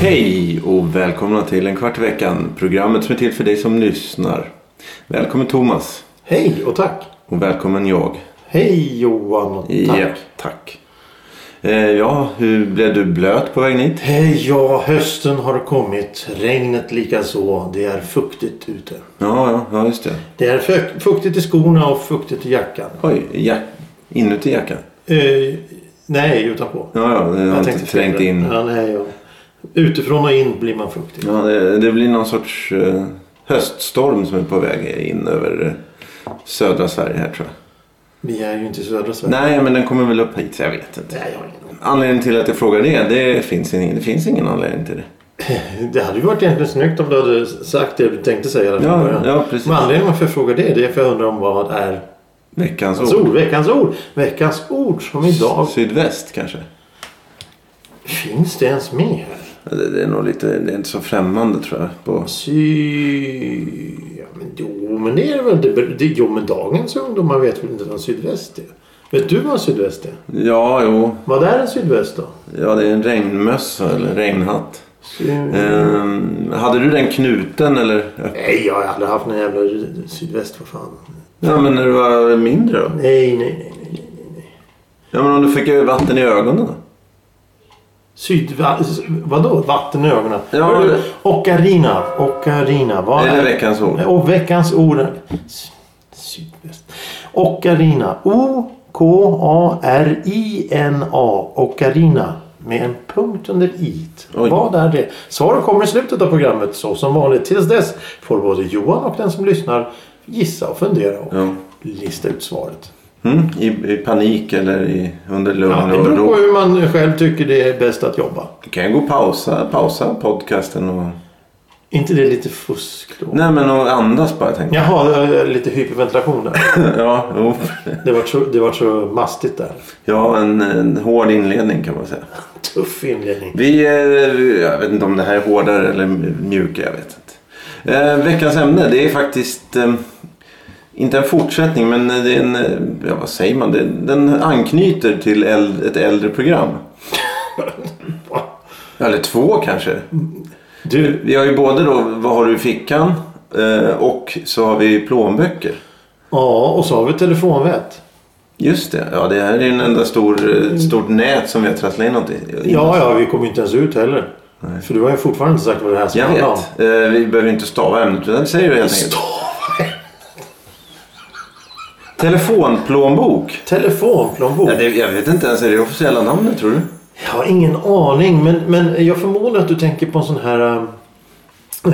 Hej och välkomna till En kvart i veckan, programmet som är till för dig som lyssnar. Välkommen Thomas Hej och tack. och välkommen jag. Hej Johan och tack. Ja, tack. Eh, ja, hur blev du blöt på vägen hit? Hej, ja, hösten har kommit. Regnet likaså. Det är fuktigt ute. Ja, ja, ja just det. Det är fuk- fuktigt i skorna och fuktigt i jackan. Oj, jack, inuti jackan? Eh, nej, utanpå. Ja, ja, det har inte tänkte fel. trängt in. Ja, nej, ja. Utifrån och in blir man fuktig. Ja, det, det blir någon sorts eh, höststorm som är på väg in över eh, södra Sverige här tror jag. Vi är ju inte i södra Sverige. Nej, men den kommer väl upp hit, så jag vet inte. Nej, jag har ingen aning. Anledningen till att jag frågar det, det finns, ingen- det finns ingen anledning till det. Det hade ju varit egentligen snyggt om du hade sagt det du tänkte säga där från Ja, början. ja precis. Men anledningen varför jag frågar det, det är för jag undrar om vad är Veckans veckans ord. ord? Veckans ord! Veckans ord som idag Sydväst kanske? Finns det ens med här? Det, det är nog lite, det är inte så främmande tror jag. På... Sy... Ja, men, jo, men det är väl det, det, Jo, men dagens ungdomar vet väl inte vad sydväst är? Vet du vad sydväst är? Ja, jo. Vad är en sydväst då? Ja, det är en regnmössa eller regnhatt. Sy... Ehm, hade du den knuten eller? Nej, jag har aldrig haft någon jävla sydväst för fan. Ja, men när du var mindre då? Nej, nej, nej. nej, nej. Ja, men om du fick vatten i ögonen då? Sydva... s- Vadå? Vatten i ögonen? Ja, Hör det- du? Ocarina. Ocarina. Vad Är är det veckans ord? Och veckans ord. är- S- Sydväst. Ocarina. O-K-A-R-I-N-A. Ocarina. Med en punkt under i. Oj. Vad är det? Svar kommer i slutet av programmet så som vanligt. Tills dess får både Johan och den som lyssnar gissa och fundera och Ja. lista ut svaret. Mm, i, I panik eller i, under lugn Ja, det och beror på ro? hur man själv tycker det är bäst att jobba. Du kan ju gå och pausa, pausa podcasten och... inte det lite fusk då? Nej, men och andas bara tänker Jaha, eh, lite hyperventilation där. jag. ja, jo. Det var så, det var så mastigt där. ja en, en hård inledning kan man säga. Tuff inledning. Vi, eh, jag vet inte om det här är hårdare eller mjukare, jag vet inte. Eh, veckans ämne, det är faktiskt eh, inte en fortsättning men det är en, eh, ja vad säger man, det, den anknyter till äl- ett äldre program. Eller två kanske. Du, Vi har ju både då Vad har du i fickan eh, och så har vi plånböcker. ja och så har vi telefonvett. Just det, ja det här är ju en enda stor, eh, stort nät som vi har trasslat in något i. Ja, ja, vi kommer ju inte ens ut heller. För du har ju fortfarande inte sagt vad det här ska Jag handla om. vet, eh, vi behöver inte stava ämnet utan vi säger det helt enkelt. Stav- Telefonplånbok? Telefonplånbok. Ja, det, jag vet inte ens, är det officiella namnet tror du? Jag har ingen aning, men, men jag förmodar att du tänker på en sån här...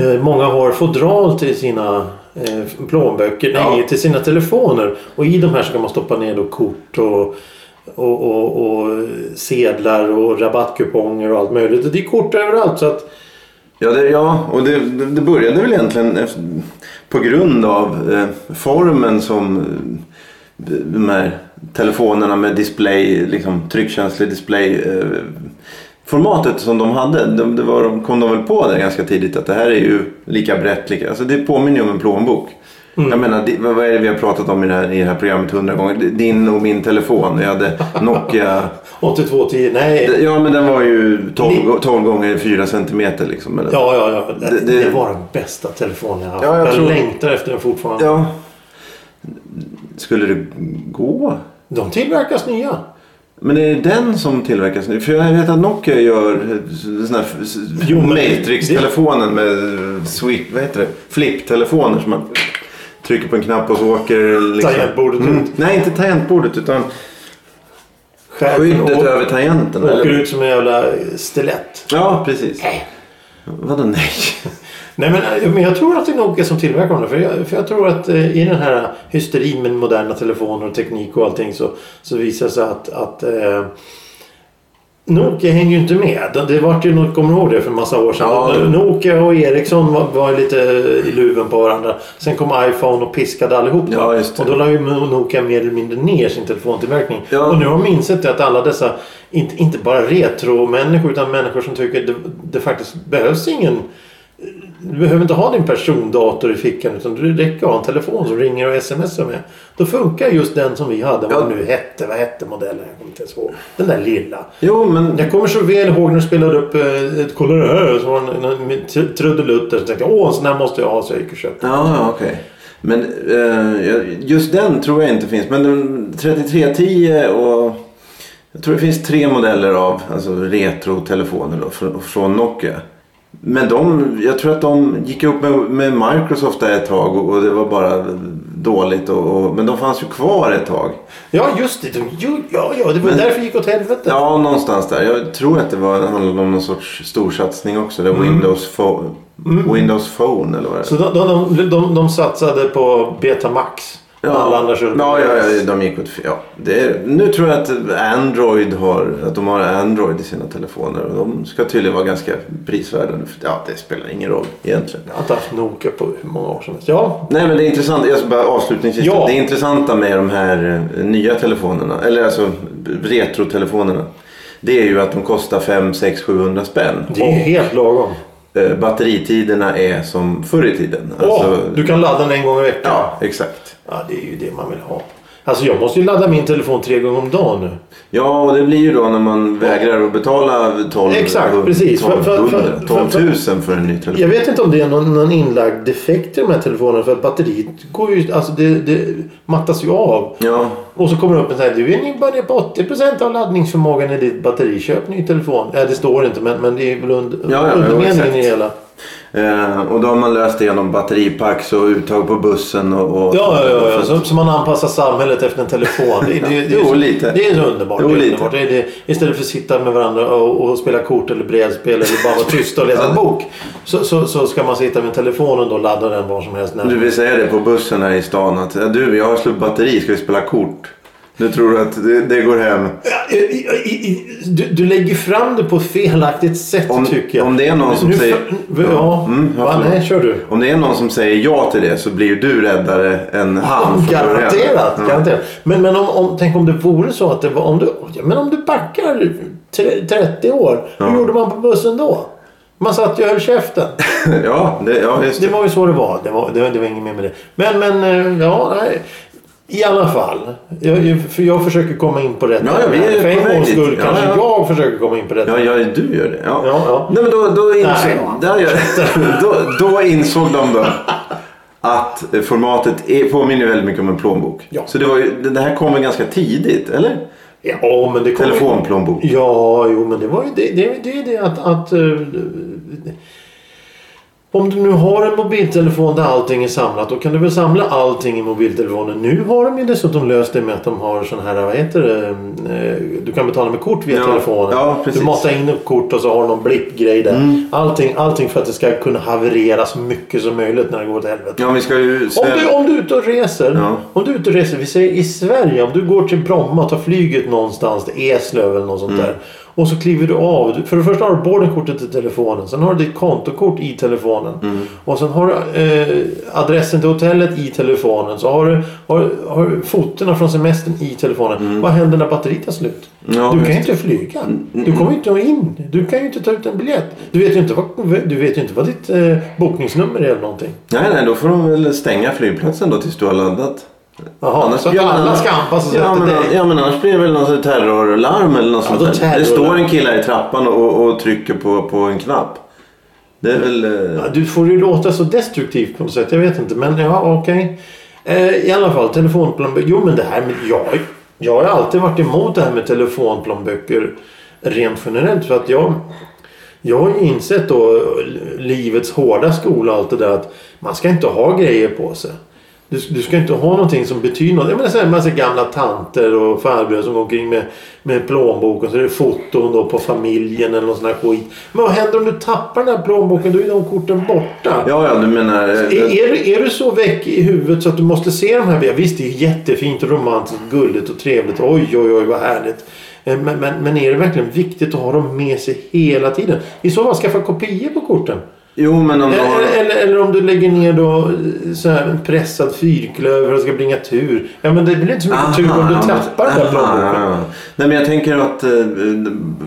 eh, Många har fodral till sina eh, plånböcker, Ja. nej, till sina telefoner. Och i de här ska man stoppa ner då kort och, och, och, och sedlar och rabattkuponger och allt möjligt. Och det är kort överallt. Så att, Ja, det, ja och det, det det började väl egentligen efter, på grund av eh, formen som eh, de här telefonerna med display, liksom tryckkänslig display eh, formatet som de hade. De, det var, de kom de väl på det ganska tidigt att det här är ju lika brett, lika, alltså det påminner ju om en plånbok. Jag menar, det, vad vad är det vi har pratat om i det här, i det här programmet hundra gånger? Din och min telefon. Jag hade Nokia 8210, nej. Ja, men den var ju 12, 12 gånger 4 centimeter liksom. Eller? Ja, ja, ja. Det, Det- det- det var den bästa telefonen jag haft. Ja, jag jag tror- längtar efter den fortfarande. Ja. Skulle det gå? De tillverkas nya. Men är det den som tillverkas nu? För jag vet att Nokia gör eh, sån här Jo, men- Matrix-telefonen med swip, vad heter det? Flip-telefoner som man trycker på en knapp och så åker... Liksom. Tangentbordet Mm. ut. Nej, inte tangentbordet utan Skärmen skyddet åker- över tangenten. Åker Eller? ut som en jävla eh, stilett. Ja, precis. Vadå nej? Nej men, men jag tror att det är Nokia som tillverkar dem. För jag, för jag tror att eh, i den här hysterin med moderna telefoner och teknik och allting så, så visar det sig att, att eh, Nokia hänger ju inte med. Det vart ju något, kommer du ihåg det för en massa år sedan? Ja. Nokia och Ericsson var, var lite i luven på varandra. Sen kom iPhone och piskade allihop. Ja, just det. Och då la ju Nokia mer eller mindre ner sin telefontillverkning. Ja. Och nu har de insett det att alla dessa, inte, inte bara retro-människor utan människor som tycker det, det faktiskt behövs ingen du behöver inte ha din persondator i fickan utan det räcker att ha en telefon som ringer och smsar med. Då funkar just den som vi hade, vad Ja. den nu hette, vad hette modellen? Jag kommer inte ens ihåg. Den där lilla. Jo, men... Jag kommer så väl ihåg när du spelade upp eh, ett Kolla det här som var en, en, en tr- trudelutt där. Så tänkte jag åh en sån här måste jag ha så jag gick och köpte. Ja, ja, okej. Men eh, jag- just den tror jag inte finns. Men den 3310 och... Jag tror det finns tre modeller av alltså retrotelefoner då, fr- från Nokia. Men de, jag tror att de gick upp med, med Microsoft där ett tag och, och det var bara dåligt. Och, och, men de fanns ju kvar ett tag. Ja just det, de- jo, ja, ja det var Men- därför det gick åt helvete. Ja, någonstans där. Jag tror att det var, handlade om någon sorts storsatsning också. Det var Windows, Pho- Windows Phone eller vad det är. Så de, de, de, de, de satsade på Betamax. Ja, Alla andra körde på ja, ja, Betamax. ja, de gick åt ja. det är, Nu tror jag att Android har, att de har Android i sina telefoner. Och de ska tydligen vara ganska prisvärda. nu för- Ja, det spelar ingen roll egentligen. Jag har inte haft Nokia på hur många år som helst. Ja, Nej men det är intressant, jag ska bara avslutningsvis. Ja. Det intressanta med de här eh, nya telefonerna, eller alltså retrotelefonerna. Det är ju att de kostar 5, 6, 700 spänn. Det är helt lagom. Och, eh, batteritiderna är som förr i tiden. Alltså- Åh, du kan ladda den en gång i veckan. Ja, exakt. Ja, det är ju det man vill ha. Alltså jag måste ju ladda min telefon tre gånger om dagen nu. Ja, och det blir ju då när man vägrar att betala 12, Exakt, precis. För- för- 1200, för- för- 12 000 för en ny telefon. Jag vet inte om det är någon, någon inlagd defekt i de här telefonerna för att batteriet går ju, alltså det, det mattas ju av. Ja, Och så kommer det upp en sån här, du är ni bara ner på 80% av laddningsförmågan i ditt batteri. Köp ny telefon. Ja, det står inte men, men det är väl under, Ja, ja, jo, undermeningen i exakt. det hela. eh, och då har man löst igenom batteripack och uttag på bussen och... och Ja, ja, ja, ja. Så, så man anpassar samhället efter en telefon. Det, det, det, Jo, lite. Det är så underbart. Jo, det är lite. underbart. Det är, det, istället för att sitta med varandra och, och spela kort eller brädspel eller bara vara tysta och läsa en bok. Så, så, så ska man sitta med telefonen och ladda den var som helst. När. Du vill säga det på bussen här i stan att ja, du, jag har slut batteri, ska vi spela kort? Nu tror du att det, det går hem. Ja, i- i- i- Du, du lägger fram det på ett felaktigt sätt Om- tycker jag. om det är någon som Nu- säger- Ja, ja. Mm, ja, Va, förlåt. nej, kör du. Om det är någon som säger ja till det så blir ju du räddare än han. från början. Garanterat. Ja. garanterat. Men, men om, om, tänk om det vore så att det var... Om du, ja, men om du backar tre- 30 år. Hur gjorde man på bussen då? Man satt ju och höll käften. Ja, det, ja, just Det det. var ju så det var. Det var, det var, det var inget mer med det. Men, men eh, ja, nej. I alla fall. Jag, jag- för jag försöker komma in på rätt Ja, ja, ämne. vi är För på en väg gångs dit. skull Ja, kanske ja. jag försöker komma in på rätt Ja, ämne. ja, du gör det. Ja. Ja, ja. Nej, men då, då, insåg, Nej. där gör, då, då insåg de då att eh, formatet är, påminner ju väldigt mycket om en plånbok. Ja. Så det, var ju, det här kom väl ganska tidigt, eller? Ja, men det kommer- Telefonplånbok. Ja, jo, men det var ju det. Det är det, är det att... att eh, om du nu har en mobiltelefon där allting är samlat då kan du väl samla allting i mobiltelefonen. Nu har de ju dessutom löst det med att de har sån här, vad heter det, eh, du kan betala med kort via Ja, telefonen. ja, precis. Mm. du matar in ett kort och så har de någon blippgrej där. Allting, allting för att det ska kunna haverera så mycket som möjligt när det går åt helvete. Ja, vi ska ju... Om du, om du är ute och reser. Eh, Ja. Om du är ute och reser, vi säger i Sverige. Om du går till Bromma och tar flyget någonstans till Eslöv eller något sånt Mm. där. Och så kliver du av. Du- För det första har du boardingkortet i telefonen. Sen har du ditt kontokort i telefonen. Mm. Och sen har du eh, adressen till hotellet i telefonen. Så har du, har, har du fotona från semestern i telefonen. Vad händer när batteriet tar slut? Mm. Ja, du kan just Mm, ju inte flyga. Du kommer ju inte in. Du kan ju inte ta ut en biljett. Du vet ju inte vad, du vet ju inte vad ditt eh, bokningsnummer är eller någonting. Nej, nej, då får de väl stänga flygplatsen då tills du har laddat. Jaha, så att alla ska anpassa sig ja, efter men, dig? Ja, men annars blir det väl någon sorts terrorlarm eller något Ja, då sånt där. Det terrorlarm. står en kille här i trappan och, och trycker på, på en knapp. Det är väl... eh, Ja, Du får ju låta så destruktivt på något sätt. Jag vet inte, men ja, okej. Eh, I alla fall, telefonplånböcker. Jo, men det här med... Jag, jag har alltid varit emot det här med telefonplånböcker rent generellt. För att jag, jag har ju insett då livets hårda skola och allt det där att man ska inte ha grejer på sig. Du, du ska inte ha någonting som betyder något. Jag menar så här, en massa gamla tanter och farbröder som går omkring med, med plånboken. Så är det foton då på familjen eller någon sån här skit. Men vad händer om du tappar den här plånboken? Då är de korten borta. Ja, ja, du menar... eh, Är, är, du- är du så väck i huvudet så att du måste se de här? bilderna? Visst, det är jättefint och romantiskt, gulligt och trevligt. Oj, oj, oj, vad härligt. Eh, Men, men, men är det verkligen viktigt att ha dem med sig hela tiden? I så fall skaffa kopior på korten. Eh, Jo, men om du har... Eller, eller, eller om du lägger ner då eh, så här en pressad fyrklöver och ska bringa tur. Ja men det blir inte så mycket tur om ja, du tappar den där aha, plånboken. ja. Nej, men jag tänker att eh,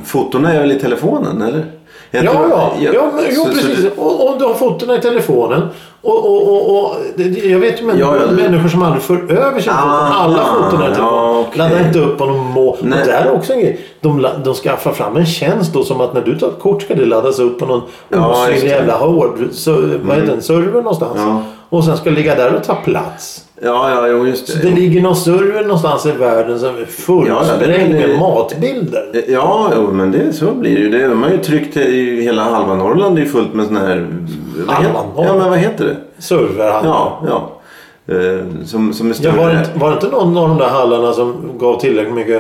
fotona är väl i telefonen, eller? Jag Ja, tror- ja. jag- ja men, jo, så- så- precis. Och, och du har fotona i telefonen. Och, och, och, och, det- det- jag vet ju människor, Ja, ja. människor som aldrig för över sina foton. Ah, Alla foton är i telefonen. ja, okej. Laddar inte upp dem och må. Och Nej. det här är också en grej. De, la- de skaffar fram en tjänst då som att när du tar ett kort ska det laddas upp på någon Ja, just osynlig det. Mm. jävla hård, så, vad heter den, server någonstans. Ja. Och sen ska det ligga där och ta plats. ja, ja, jo, just Det det. ligger någon server någonstans i världen som är fullsprängd Ja, det- med matbilder. Ja, jo, men det, så blir det ju. Det, de har ju tryckt i hela halva Norrland är ju fullt med såna här... vad Halva heter- Ja, Norrland? men vad heter det? Serverhandel. Ja, ja. Eh, som, som är Ja, större. var, det inte, var det inte någon av de där hallarna som gav tillräckligt mycket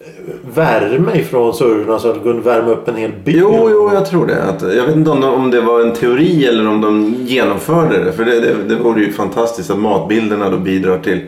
eh, värme ifrån servrarna så att det kunde värma upp en hel bil? Jo, jo, jag tror det. Att, jag vet inte om, de- om det var en teori eller om de genomförde det. För det, det, det vore ju fantastiskt att matbilderna då bidrar till...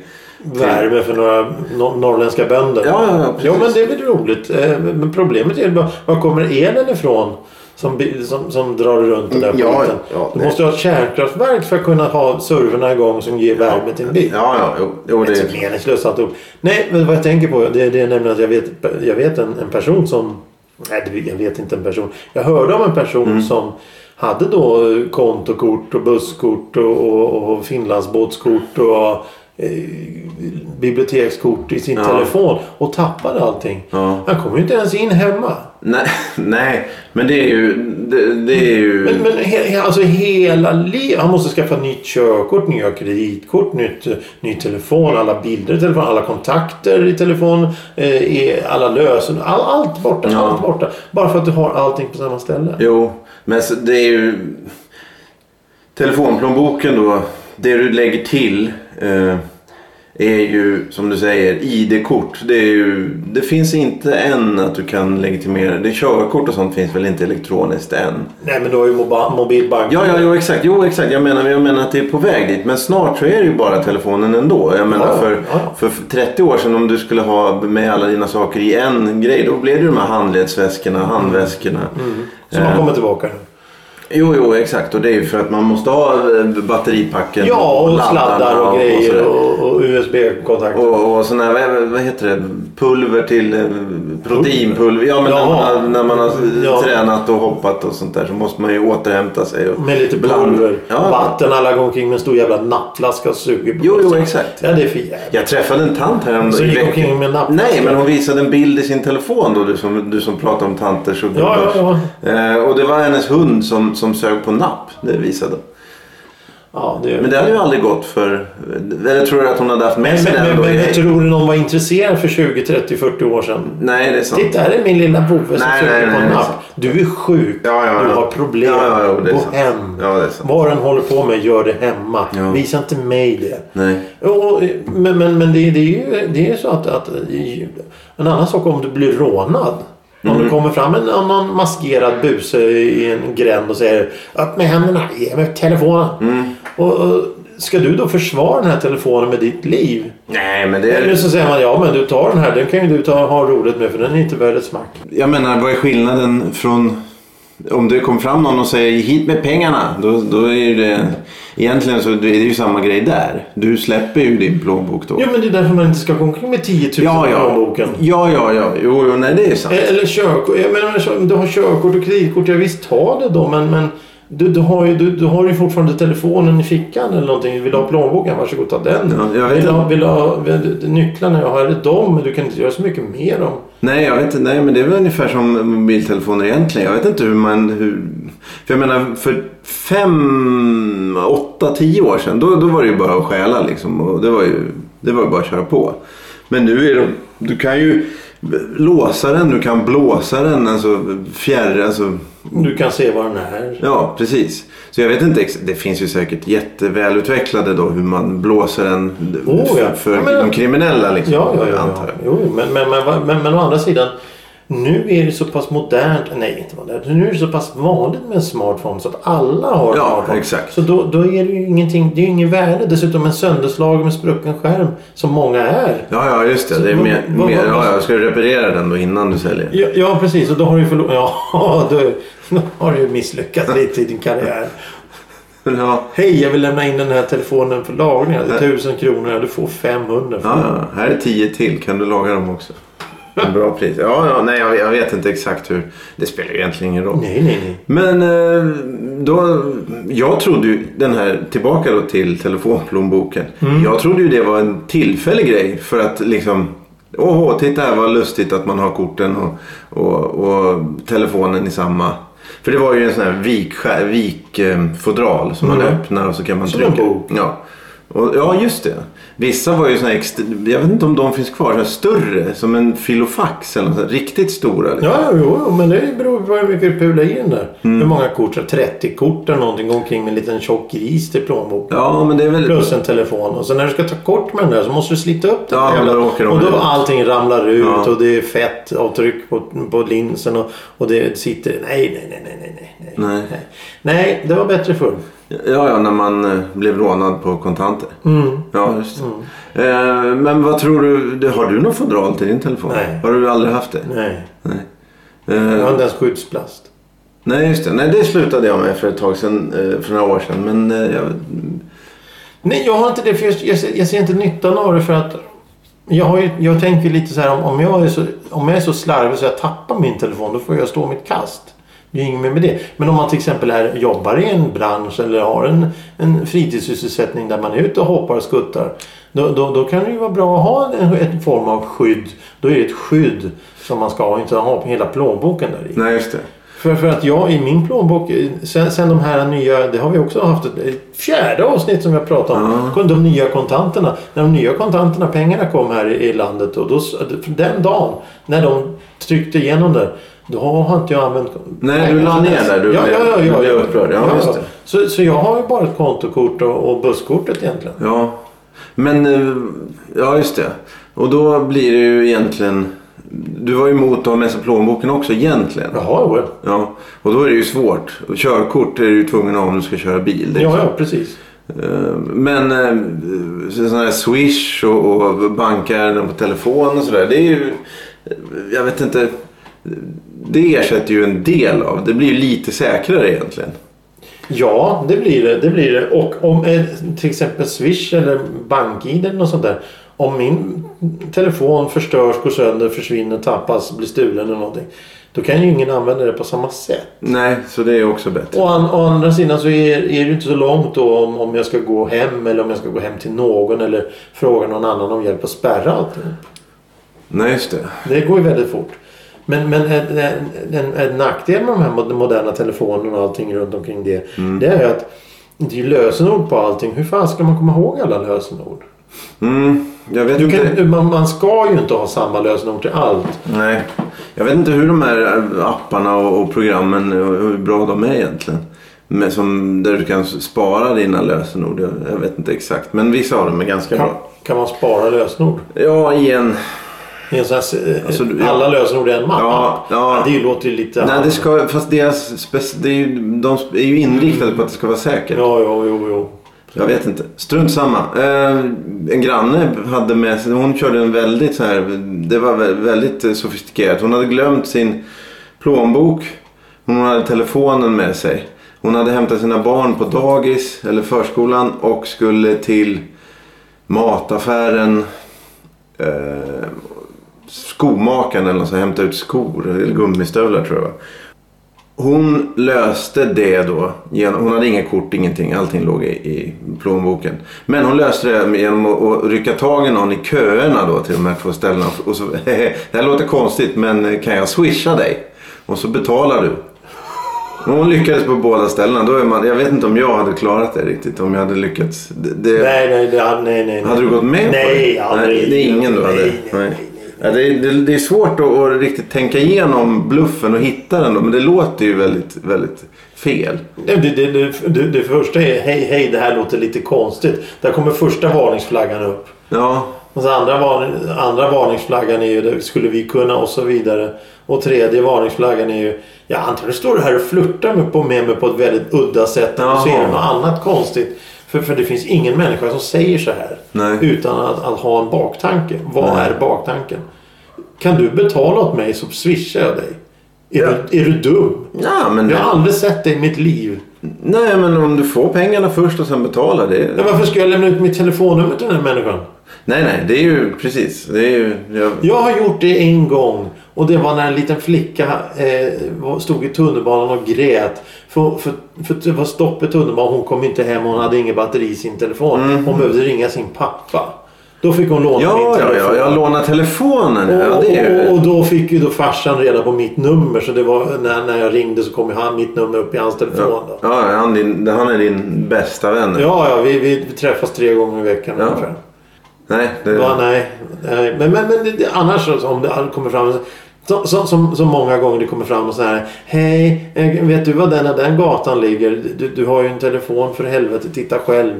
Värme för några no- norrländska bönder. Ja, ja, ja, precis. jo, men det blir roligt. Eh, Men problemet är ju bara, var kommer elen ifrån? Som, bi- som, som drar runt den där Ja, skiten. ja, du det- måste ha ett kärnkraftverk för att kunna ha servrarna igång som ger värme till en bil. Ja, ja, jo, jo Det är det... så meningslöst alltihop. Nej, men vad jag tänker på det, det är nämligen att jag vet, jag vet en, en person som... Nej, det- jag vet inte en person. Jag hörde om en person Mm. som hade då eh, kontokort och busskort och, och, och finlandsbåtskort och eh, bibliotekskort i sin Ja. telefon och tappade allting. Ja. Han kom ju inte ens in hemma. Nej, nej, men det är ju... Det, det är ju... Men, men he, he- alltså hela livet. Han måste skaffa nytt körkort, nya kreditkort, nytt, eh, ny telefon, alla bilder i telefon, alla kontakter i telefon, eh, i alla lösen. All, allt borta, Ja. allt borta. Bara för att du har allting på samma ställe. Jo, men så det är ju... Telefonplånboken då, det du lägger till eh, är ju som du säger ID-kort. Det, är ju, det finns inte än att du kan legitimera. Det körkort och sånt finns väl inte elektroniskt än. Nej men du har ju moba- mobilbank. Ja, ja, jo, exakt. Jo, exakt. Jag menar, jag menar att det är på väg dit. Men snart så är det ju bara telefonen ändå. Jag menar, Ja, för, ja. för 30 år sedan om du skulle ha med alla dina saker i en grej. Då blev det ju de här handledsväskorna, Mm. handväskorna. Eh, Som har kommit tillbaka nu. Jo, jo, exakt. Och det är ju för att man måste ha eh, batteripacken. Ja och laddarna sladdar och grejer sådär. och, och USB-kontakter. Och, och sån här, vad- vad heter det, pulver till eh, proteinpulver. Ja, men när man, Jaha. har, när man har Ja. tränat och hoppat och sånt där så måste man ju återhämta sig. Och Med lite bland- pulver. Ja. Vatten. Alla går omkring med en stor jävla nappflaska och suger på Jo, jo, bussen. exakt. Ja, det är för jävligt. Jag träffade en tant Så häromdagen. gick omkring med en nappflaska. Nej, men hon visade en bild i sin telefon då, du som, du som pratar om tanter. Så Ja, ja, Eh, och det var hennes hund som, som sög på napp. Det visade. Ja, det är... Men det hade ju aldrig gått för... Eller tror du att hon hade haft med Men, sig men, den men, då? men i- jag tror du någon var intresserad för 20, 30, 40 år sedan? Nej, det är sant. Titta, här är min lilla vovve som Nej, nej, söker på nej, en nej. app. Du är sjuk. Ja, ja, Du ja. har problem. Ja, ja, jo, det är Gå sant. hem. Ja, det är sant. Vad den håller på med, gör det hemma. Ja. Visa inte mig det. Nej. Och, men men, men det, det är ju det är ju så att, att... i- En annan sak om du blir rånad. Om Mm. det kommer fram en, en någon maskerad buse i en gränd och säger Upp med händerna, ge mig telefonen. Mm. Och, och, ska du då försvara den här telefonen med ditt liv? Nej, men det Eller är... så säger man ja men du tar den här, den kan ju du ta, ha roligt med för den är inte värd ett smack. Jag menar, vad är skillnaden från... Om det kommer fram någon och säger "Ge hit med pengarna. Då, då är ju det... Egentligen så är det ju samma grej där. Du släpper ju din plånbok då. Jo men det är därför man inte ska gå omkring med 10 000 Ja, i ja. plånboken. Ja, ja, ja. Jo, jo, nej, det är sant. Eh, Eller körkort, jag menar så- du har körkort och kreditkort, ja visst ta det då men, men du, du, har ju, du, du har ju fortfarande telefonen i fickan eller någonting. Vill du ha plånboken? Varsågod ta den. Ja, jag vet vill du ha, inte. vill du ha vill, du- nycklarna? Jag har är dem men du kan inte göra så mycket med dem. Nej, jag vet inte. Nej, men det är väl ungefär som mobiltelefoner egentligen. Jag vet inte hur man... Hur... För jag menar, för fem, åtta, tio år sedan. Då, då var det ju bara att stjäla liksom. Och det var ju det var ju bara att köra på. Men nu är det... Du kan ju låsa den, du kan blåsa den. Alltså fjärr... Alltså, Du kan se var den är. ja, precis. Så jag vet inte. ex- Det finns ju säkert jättevälutvecklade då hur man blåser den Oh, ja. för Ja, men- de kriminella liksom. Ja, ja, ja. antar ja. Jo, men, men, men, men, men, men å andra sidan. Nu är det så pass modernt, nej inte modernt, nu är det så pass vanligt med en smartphone så att alla har Ja, smartphone. exakt. Så då, då är det ju ingenting, det är ju ingen värde. Dessutom en sönderslagen med sprucken skärm som många är. Ja, ja just det. det är vad- mer, vad- mer, vad- ja, ja, ska du reparera den då innan du säljer? Ja, ja precis, och då har du ju förlorat, ja då, då har du ju misslyckats lite i din karriär. Ja, Hej, jag vill lämna in den här telefonen för lagning. Det är 1000 kronor och du får 500. för ja, den. ja. här är tio till. Kan du laga dem också? En bra pris. Ja, ja nej, jag, jag vet inte exakt hur. Det spelar ju egentligen ingen roll. Nej, nej, nej. Men eh, då, jag trodde ju den här, tillbaka då till telefonplånboken. Mm. Jag trodde ju det var en tillfällig grej för att liksom Åh, titta här vad lustigt att man har korten och, och, och telefonen i samma. För det var ju en sån här vikfodral vik, eh, fodral som man Mm. öppnar och så kan man Som trycka. en bok. Ja. Och, ja, just det. Vissa var ju såna här, ext- jag vet inte om de finns kvar, så här större som en filofax eller något sånt, riktigt stora. liksom. Ja, jo, jo, men det beror på hur mycket du pular i den där. Mm. Hur många kort? så 30 kort eller någonting. Gå omkring med en liten tjock gris till plånboken. ja, men det är väl... Plus en telefon. Och sen när du ska ta kort med den där så måste du slita upp den. Ja, jävla- då åker de och då ut. allting ramlar ut Ja. och det är fett avtryck på, på linsen och, och det sitter... Nej, nej, nej, nej, nej, nej, Nej. nej. Nej, det var bättre förr. Ja, ja, när man eh, blev rånad på kontanter. Ja, just det. Eh, Men vad tror du, det- har du någon fodral till din telefon? Nej. Har du aldrig haft det? Nej, Eh, jag har inte ens skyddsplast. Nej, just det. Nej, det slutade jag med för ett tag sedan, eh, för några år sedan. Men eh, jag... Nej, jag har inte det. För jag, jag, ser, jag ser inte nyttan av det för att... Jag, har ju, jag tänker lite så här om, om, jag är så, om jag är så slarvig så jag tappar min telefon då får jag stå mitt kast. Det är ju inget mer med det. Men om man till exempel är, jobbar i en bransch eller har en, en fritidssysselsättning där man är ute och hoppar och skuttar. Då, då, då kan det ju vara bra att ha en, en form av skydd. Då är det ett skydd som man ska ha. Inte ha hela plånboken där i. Nej, just det. För, för att jag i min plånbok, eh, sen, sen de här nya, det har vi också haft ett, ett fjärde avsnitt som jag pratade om. Kom De nya kontanterna. När de nya kontanterna, pengarna kom här i, i landet och då, s- den dagen när de tryckte igenom det. Då har inte jag använt... Nej, du la ner där. Du ja, blev- ja, ja, du ja, blev ja. upprörd. Ja, just det. Så, så jag har ju bara ett kontokort och, och busskortet egentligen. Ja. Men, eh, ja just det. Och då blir det ju egentligen... Du var ju emot att ha med sig plånboken också egentligen. Jaha, jo. Ja. Och då är det ju svårt. Och Körkort är du ju tvungen att ha om du ska köra bil. Det är Ja, ja, precis. Eh, Men eh, så- sådana här Swish och, och bankärenden på telefon och sådär. Det är ju, eh, jag vet inte. Det ersätter ju en del av. Det blir ju lite säkrare egentligen. Ja, det blir det. det, blir det. Och om eh, till exempel Swish eller BankID eller något sånt där. Om min telefon förstörs, går sönder, försvinner, tappas, blir stulen eller någonting. Då kan ju ingen använda det på samma sätt. Nej, så det är också bättre. Å, an, å andra sidan så är, är det ju inte så långt då om, om jag ska gå hem eller om jag ska gå hem till någon eller fråga någon annan om hjälp att spärra allting. Nej, just det. Det går ju väldigt fort. Men, men en, en, en, en nackdel med de här mod- moderna telefonerna och allting runt omkring det. Mm. Det är ju att det är lösenord på allting. Hur fan ska man komma ihåg alla lösenord? Mm, jag vet Du inte. kan, man, man ska ju inte ha samma lösenord till allt. Nej. Jag vet inte hur de här apparna och, och programmen, eh, hur bra de är egentligen. Men som, där du kan spara dina lösenord. Jag, jag vet inte exakt. Men vissa av dem är ganska Kan, bra. kan man spara lösenord? Ja, i en... I en sån här, eh, Alltså, du- ja. alla lösenord i en mapp? Ja, ja. Det låter ju lite... Nej, det ska, fast deras spec- det är ju, de är ju inriktade på att det ska vara säkert. Ja, jo, jo, jo. Jag vet inte. Strunt samma. Eh, en granne hade med sig, hon körde en väldigt så här, det var vä- väldigt eh, sofistikerat. Hon hade glömt sin plånbok. Hon hade telefonen med sig. Hon hade hämtat sina barn på dagis eller förskolan och skulle till mataffären. Eh, skomakaren eller något så hämta ut skor eller gummistövlar tror jag. det var. Hon löste det då. Genom, hon hade inget kort, ingenting. Allting låg i, i plånboken. Men hon löste det med- genom att, att rycka tag i någon i köerna då till de här två ställena. Och så, det här låter konstigt men kan jag swisha dig? Och så betalar du. Och Hon lyckades på båda ställena. Då är man, jag vet inte om jag hade klarat det riktigt. Om jag hade lyckats. Det, det, Nej, nej, det, hade- nej, nej. nej. hade du gått med på det? Nej, aldrig. Nej, det är ingen du nej, hade? Nej, nej, nej. Ja, det, är, det, det är svårt att, att riktigt tänka igenom bluffen och hitta den då, men det låter ju väldigt, väldigt fel. Nej, Det, det, det, det, det första är hej hej det här låter lite konstigt. Där kommer första varningsflaggan upp. Ja, Alltså, Och så andra, varning, andra varningsflaggan är ju det, skulle vi kunna och så vidare. Och tredje varningsflaggan är ju, ja antagligen står du här och flörtar med, på, med mig på ett väldigt udda sätt. Och Jaha. ser något annat konstigt. För, för det finns ingen människa som säger så här. Nej. Utan att, att ha en baktanke. Vad Nej. är baktanken? Kan du betala åt mig så swishar jag dig. Ja. Är, du, är du dum? Ja, men, Jag har aldrig sett dig i mitt liv. Nej, men om du får pengarna först och sen betalar. Det... Men varför ska jag lämna ut mitt telefonnummer till den här människan? Nej, nej, det är ju precis. Det är ju... Jag... Jag har gjort det en gång och det var när en liten flicka eh, var- stod i tunnelbanan och grät. För, för, för det var stopp i tunnelbanan. Hon kom inte hem och hon hade ingen batteri i sin telefon. Hon behövde ringa sin pappa. Då fick hon låna min Mhm. Ja, ja, telefon. ja, jag lånar telefonen. Ja, Och, det är och, ju... och då fick ju då farsan reda på mitt nummer. Så det var när, när jag ringde så kom ju han, mitt nummer upp i hans telefon. Då. Ja, han, din, han är din bästa vän. nu. Ja, ja, vi, vi träffas tre gånger i veckan Ja. ungefär. Nej, det... Ja, nej, nej. Men, men, men det- det- annars så- om det kommer fram... så- så- Som, som många gånger det kommer fram och så här. Hej, eh, vet du var den och den gatan ligger? Du, du har ju en telefon för helvete, titta själv.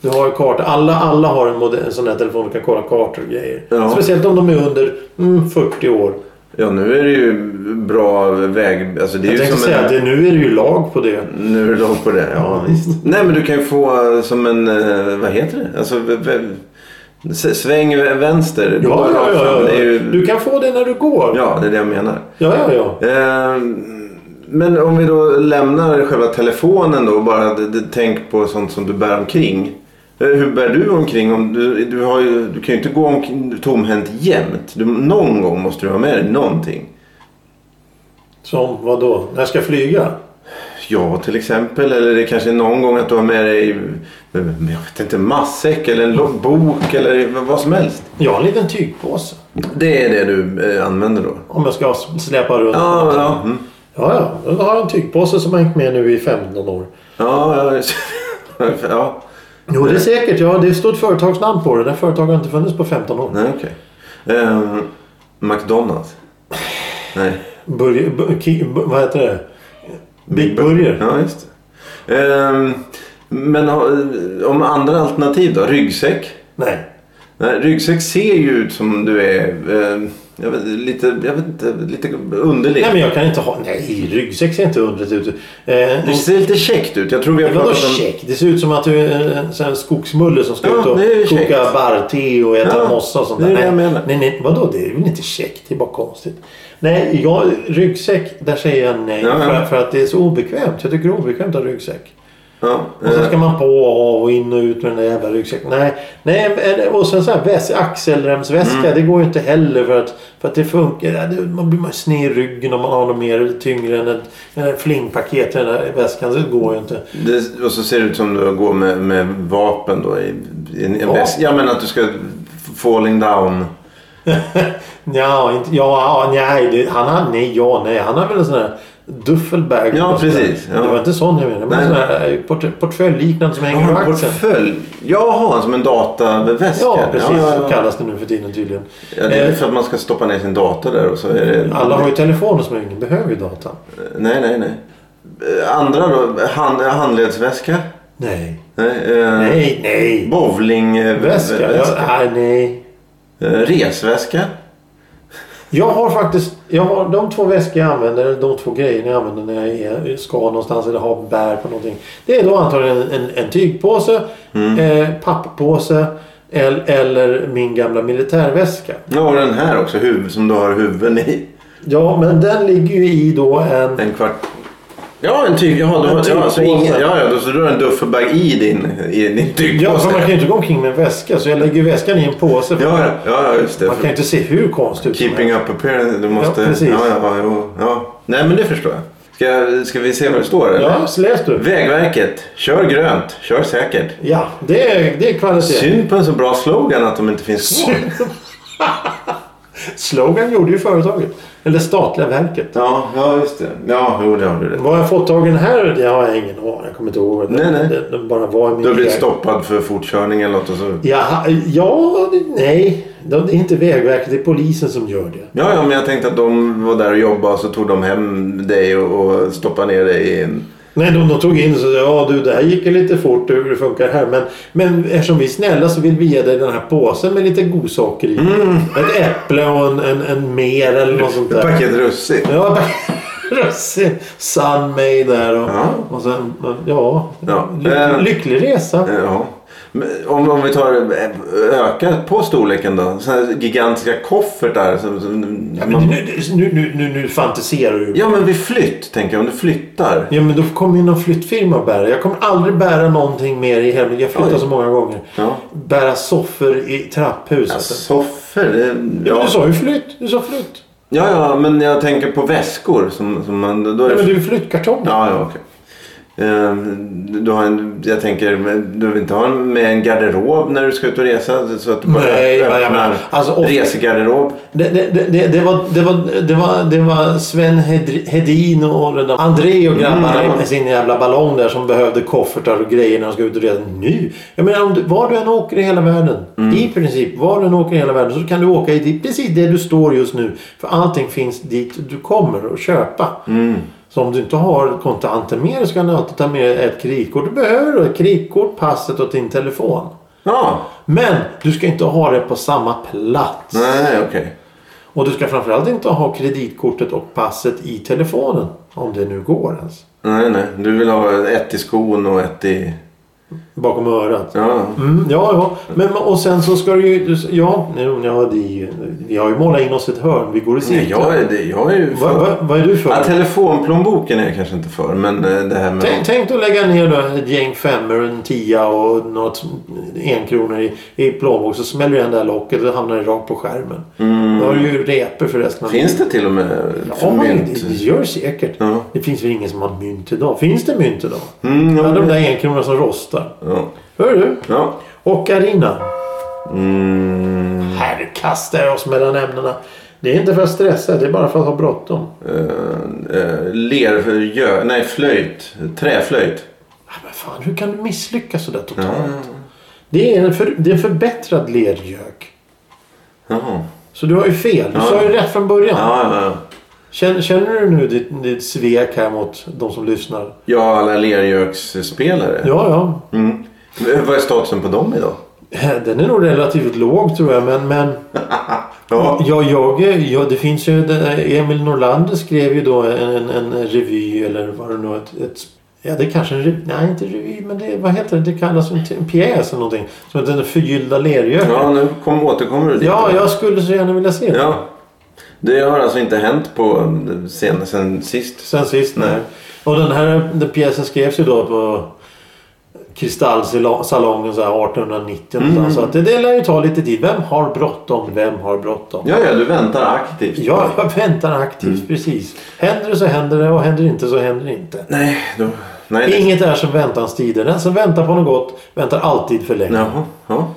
Du har ju karta. Alla, alla har en, modell, en sån här telefon och kan kolla kartor och grejer. Ja. Speciellt om de är under mm, 40 år. ja, nu är det ju bra väg... Alltså, det är Jag ju tänkte som säga en... att det, nu är det ju lag på det. Nu är det långt på det. Ja, visst. Nej, men du kan ju få eh, som en... eh, Vad heter det? Alltså, v- v- s- sväng v- vänster. Ja, Bara ja, rakt fram. ja, Det är ja. ju... Du kan få det när du går. ja, det är det jag menar. ja, ja. ja. Eh, Men om vi då lämnar själva telefonen då och bara d- d- tänk på sånt som du bär omkring. Eh, Hur bär du omkring? Om du, du, har ju, du kan ju inte gå omkring tomhänt jämt. Du, någon gång måste du ha med dig någonting. Som vadå? När jag ska flyga? Ja, till exempel. Eller det kanske är någon gång att du har med dig eh, men jag vet inte, matsäck eller en lo- bok eller v- vad som helst. Jag har en liten tygpåse. Det är det du eh, använder då? Om jag ska släpa runt. Ja, ja. Mm. Ja, ja. Då har jag en tygpåse som har hängt med nu i 15 år. Ja, ja. ja. Jo, det är säkert. Ja, det står ett företagsnamn på det. Det här företaget har inte funnits på 15 år. Nej, okej. Eh, McDonalds? Nej. Burger, bu- ki, bu- vad heter det? Big Burger. Ja, just det. Eh, men ha- om andra alternativ då? Ryggsäck? Nej. Nej, ryggsäck ser ju ut som du är eh, jag vet, lite, jag vet inte, lite underlig. Nej, men jag kan inte ha... Nej, ryggsäck ser inte undret ut. Eh, Det ser lite käckt ut. Jag tror vi har Vadå pratat om... check? Det ser ut som att du är en sån här skogsmulle som ska Ja, ut och det är ju koka käckt. barrte och äta Ja, mossa och sånt det där. är det jag menar. nej, nej, vadå? Det är väl inte käckt? Det är bara konstigt. Nej, jag, ryggsäck, där säger jag nej. Ja, ja. För, för att det är så obekvämt. Jag tycker det är obekvämt att ha ryggsäck. Ja, Och sen eh, ska man på och av och in och ut med den där jävla ryggsäcken. Nej, nej men- eh, och sen så här väs, axelremsväska. Mm. Det går ju inte heller för att, för att det funkar. Ja, det- Man blir man sned i ryggen om man har något mer tyngre än ett, ett flingpaket i den där väskan. Så det går ju inte. det, och så ser det ut som du går med, med vapen då i, i en, en Ja. väska. Ja, men att du ska falling down. Ja, inte, ja, ja, nej, det, han har, nej, ja, nej. Han har väl en sån här duffelbag. Ja, precis, ja. Det var inte sån jag menade. Men en Nej. sån här eh, port, portföljliknande som Jag hänger har en på axeln. portfölj. Jaha, som en dataväska. Ja, precis. Ja, Så ja, ja. kallas det nu för tiden tydligen. Ja, det är Eh, för att man ska stoppa ner sin dator där och så är det... Alla har ju telefoner som ingen behöver ju data. Nej, nej, nej. Eh, Andra då? Hand, handledsväska? Nej. Nej. Eh, Nej, nej. Bowlingväska? Väska? Jag, nej, nej. Eh, resväska? Jag har faktiskt... Jag har de två väskor jag använder, eller de två grejerna jag använder när jag är, ska någonstans eller har bär på någonting. Det är då antagligen en, en, en tygpåse, eh, papppåse el, eller min gamla militärväska. Ja, och den här också. Huvud, som du har huvuden i. Ja, men den ligger ju i då en... En kvart... Ja, en tyg. Jaha, du En har, ja, alltså ingen, tygpåse. ja, ja, då- så du har en duffelbag i din, i din Ja, för man kan tygpåse? ju inte gå omkring med en väska så jag lägger väskan i en påse. Ja, ja, ja, just det. Man kan ju inte se hur konstigt ut som Keeping helst. up appearance. Du måste... precis. ja, ja, jo, ja. Nej, men det förstår jag. Ska, ska vi se vad det står? eller? Ja, så läs du. Vägverket. Kör grönt. Kör säkert. Ja, det är, det är kvalitet. Synd på en så bra slogan att de inte finns kvar. Slogan gjorde ju företaget. Eller statliga verket. Ja, ja, just det. Ja, jo, det har du rätt. Vad har jag fått tag i den här? Det har jag ingen aning. Jag kommer inte ihåg. Nej, nej. Den, den bara var i min Du har blivit väg. stoppad för fortkörning eller något och så. Jaha, ja, nej. Det är inte Vägverket. Det är polisen som gör det. Ja, ja, men jag tänkte att de var där och jobbade och så tog de hem dig och, och stoppade ner dig i en... Nej, de, de tog in så ja du det här gick ju lite fort hur det funkar här. Men, men eftersom vi är snälla så vill vi ge dig den här påsen med lite godsaker i. Ett äpple och en, en, en mer eller något sånt Mm. Ett där. paket russin. Ja, russin. Sunmay där och, Ja. och sen ja, Ja. Eh. Lyck, lycklig resa. Ja. Men Om, om vi tar eh, öka på storleken då. Sådana här gigantiska koffertar. Som, som, Ja, men man, nu, nu, nu, nu, nu fantiserar du. ja men vid flytt tänker jag. Om du flyttar. Ja men då kommer ju någon flyttfirma att bära. Jag kommer aldrig bära någonting mer i hemmet. Jag flyttar Oj. så många gånger. Ja. Bära soffor i trapphuset. Ja, Soffor. det- Ja. men Ja. Du sa ju flytt. Du sa flytt. ja, ja, men jag tänker på väskor. Som, som man, då är Nej, det, men du är flyttkartong. Ja, ja, okej. Ehm, Du har en, jag tänker, du vill inte ha en, med en garderob när du ska ut och resa? Så att du bara Nej, öppnar ja, jag menar, alltså, ofta- resegarderob? Det, det, det- det, det, var, det, var, det, var, det var Sven Hedri- Hedin och den där André och grabbarna Mm, ja. med sin jävla ballong där som behövde koffertar och grejer när de ska ut och resa. Nu! Jag menar, om du, var du än åker i hela världen. Mm. I princip, var du än åker i hela världen så kan du åka i det, precis där du står just nu. För allting finns dit du kommer att köpa. Mm. Så om du inte har kontanter med dig så kan du alltid ta med ett kreditkort. Du behöver då ett kreditkort, passet och din telefon. Ja, Men du ska inte ha det på samma plats. nej, okej. Och du ska framförallt inte ha kreditkortet och passet i telefonen. Om det nu går ens. Nej, nej. Du vill ha ett i skon och ett i... Bakom örat. Ja, Mm, ja, ja. Men, och sen så ska du ju... du- Ja, nu, ja det är ju, vi har ju målat in oss ett hörn. Vi går i nej, cirklar. jag är, det- jag är ju för... Vad va, vad är du för? Ja, telefonplånboken är jag kanske inte för, men eh, det här med... Tänk, tänk att lägga ner då ett gäng femmor, en tia och något enkronor i, i plånbok. Så smäller du igen det här locket och hamnar det rakt på skärmen. Då har du ju repor för resten av Mm. Finns det till och med Ja, men mynt? det, det gör det säkert. Ja. Det finns väl ingen som har mynt idag? Finns det mynt idag? Mm, ja, ja, de men- där enkronorna som rostar. Ja. Hör du? ja. Och Arina. Mm, Här kastar jag oss mellan ämnena. Det är inte för att stressa, det är bara för att ha bråttom. eh, eh, ler... Gö, nej, flöjt. Träflöjt. Ja, men fan, hur kan du misslyckas sådär totalt? Det, är en för, det är en förbättrad lergök. Jaha. Så du har ju fel. Du sa ju rätt från början. Ja, ja, ja. Känner, känner du nu ditt, ditt svek här mot de som lyssnar? Ja, alla lergöksspelare. Ja, ja. Mm. Men Vad är statusen på dem idag? Den är nog relativt låg tror jag, men... men... Ja. Ja, jag, ja, det finns ju, Emil Norlander skrev ju då en, en revy eller var det nu ett, ett Ja, det är kanske en revy. Nej, inte revy, men det, vad heter det? Det kallas en, en pjäs eller någonting. Som heter Den förgyllda lergöken. Ja. Ja, nu kom, återkommer du dit. jag skulle så gärna vilja se det. ja. Det har alltså inte hänt på sen, sen sist. Sen sist, nej. Nej. Och den här den pjäsen skrevs ju då på Kristallsalongen så här 1890 någonstans. Så att det, det lär ju ta lite tid. Vem har bråttom? Vem har bråttom? Ja, ja, du väntar aktivt. Ja, jag väntar aktivt. Mm. Precis. Händer det så händer det och händer det inte så händer det inte. Nej, då... Nej, det... Inget är som väntans tider. Den som väntar på något gott väntar alltid för länge. Jaha, ja.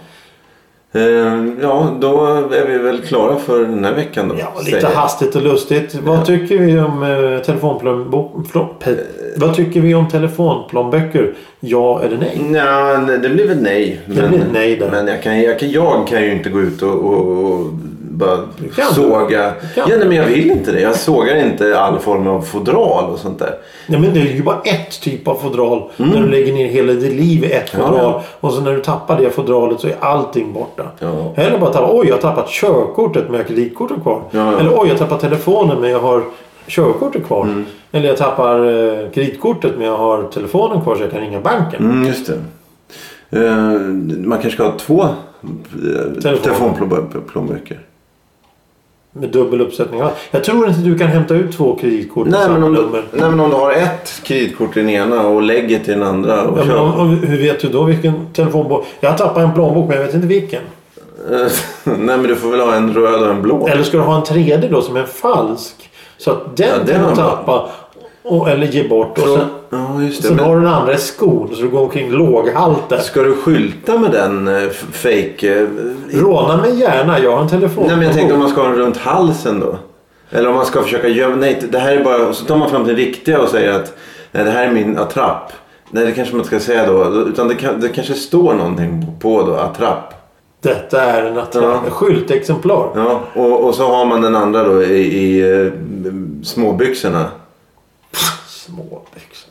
Ehm, ja, då är vi väl klara för den här veckan då. Ja, säger lite jag. hastigt och lustigt. Vad tycker vi om eh, telefonplånbo- plå- Eh. pe- Vad tycker vi om telefonplånböcker? Ja eller nej? Mm. Nja, nej, det blir väl nej. Det blir ett nej där. Men jag kan, jag, kan, jag kan ju inte gå ut och, och, och bara kan. såga. kan. Ja, nej, men jag vill inte det. Jag sågar inte all form av fodral och sånt där. Nej, men det är ju bara ett typ av fodral. När du lägger ner hela ditt liv i ett fodral. Mm. ja. Och så när du tappar det fodralet så är allting borta. Ja. Eller bara tappa, oj jag har tappat körkortet men jag har kreditkortet kvar. Ja, ja. Eller oj jag tappar telefonen men jag har körkortet kvar. Mm. Eller jag tappar eh, kreditkortet men jag har telefonen kvar så jag kan ringa banken. Mm, just det. Eh, man kanske ska ha två eh, telefonplånböcker. Med dubbel uppsättning. Ja, Jag tror inte du kan hämta ut två kreditkort med Nej men, samma om du, nummer. nej men om du har ett kreditkort i den ena och lägget i den andra. Och Ja, men, kör. om- om- hur vet du då vilken telefonbok? Jag tappar en plånbok men jag vet inte vilken. Eh, nej men du får väl ha en röd och en blå. Eller ska du ha en tredje då som är falsk? Så att den Ja, det kan har du man. tappa och, eller ge bort. Och Så- sen ja, just det. sen men- har du den andra i skon så du går omkring låghalter. Ska du skylta med den eh, f- fake... eh, i- Råna mig gärna, jag har en telefon. Nej men jag tänkte om man ska ha den runt halsen då. Eller om man ska försöka gömma... Nej det här är bara... Och så tar man fram den riktiga och säger att nej, det här är min attrapp. Nej det kanske man inte ska säga då. Utan det, kan, det kanske står någonting på då. Attrapp. Detta är en attrapp. Ja. skyltexemplar. Ja, och, och så har man den andra då i, i eh, småbyxorna. Småbyxor.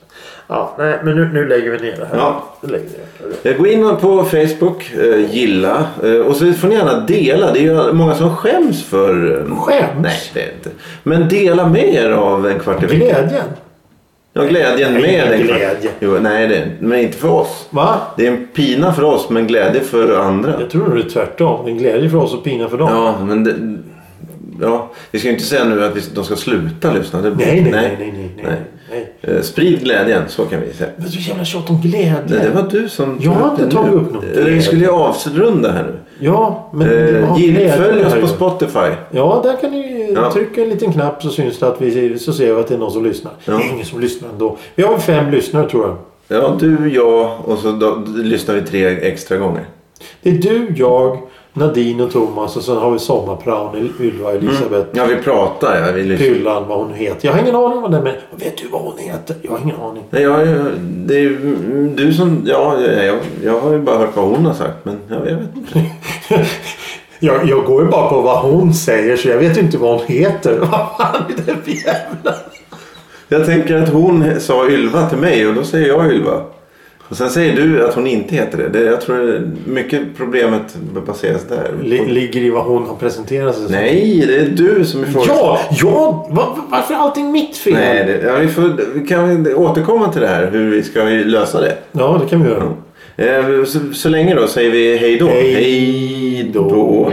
Ja, nej, men nu, nu lägger vi ner det här. Ja. Nu lägger vi ner det. Eh, Gå in på Facebook, eh, gilla eh, och så får ni gärna dela. Det är ju många som skäms för... eh, Skäms? Nej, det är inte. Men dela med er av en kvart i veckan. Glädjen. Ja, glädjen Nej, med en glädje. Jo, nej, det, men inte för oss. Va? Det är en pina för oss, men glädje för andra. Jag tror nog det är tvärtom. Det är glädje för oss och pina för dem. Ja, men det, ja, vi ska ju inte säga nu att vi, de ska sluta lyssna. Det, Nej, nej, nej, nej, nej, nej. nej. nej. Eh, Sprid glädjen, så kan vi säga. Men så jävla tjat om glädje. Nej, det var du som... Jag har inte tagit upp något. Eh, Vi skulle ju avrunda här nu. Ja, men... Eh, Ja, gill- glädje följ oss här på ju. Spotify. Ja, där kan ni Ja. ja. trycka en liten knapp så syns det att vi så ser vi att det är någon som lyssnar. Ja. Det är ingen som lyssnar ändå. Vi har fem lyssnare tror jag. Ja, du, jag och så då, lyssnar vi tre extra gånger. Det är du, jag, Nadine och Thomas och sen har vi sommarpraon Ylva Elisabeth. Ja, vi pratar. Ja, vi lyssnar. Pyllan, vad hon heter. Jag har ingen aning vad den men Vet du vad hon heter? Jag har ingen aning. Nej, jag, är- det är ju mm, du som... Ja, jag, jag, jag har ju bara hört vad hon har sagt. Men jag, jag vet inte. jag, jag går ju bara på vad hon säger så jag vet ju inte vad hon heter. Vad fan är det för jävla... Jag tänker att hon sa Ylva till mig och då säger jag Ylva. Och sen säger du att hon inte heter det. det jag tror det- mycket problemet baseras där. Li- ligger i vad hon har presenterat sig som. Nej, det är du som ifrågasätter. Ja, ja! Va, varför är allting mitt fel? Nej, det, ja, vi, får, vi kan återkomma till det här hur vi ska lösa det. Ja, det kan vi göra. Eh, Så, så länge då säger vi hej då. Hej Hej då.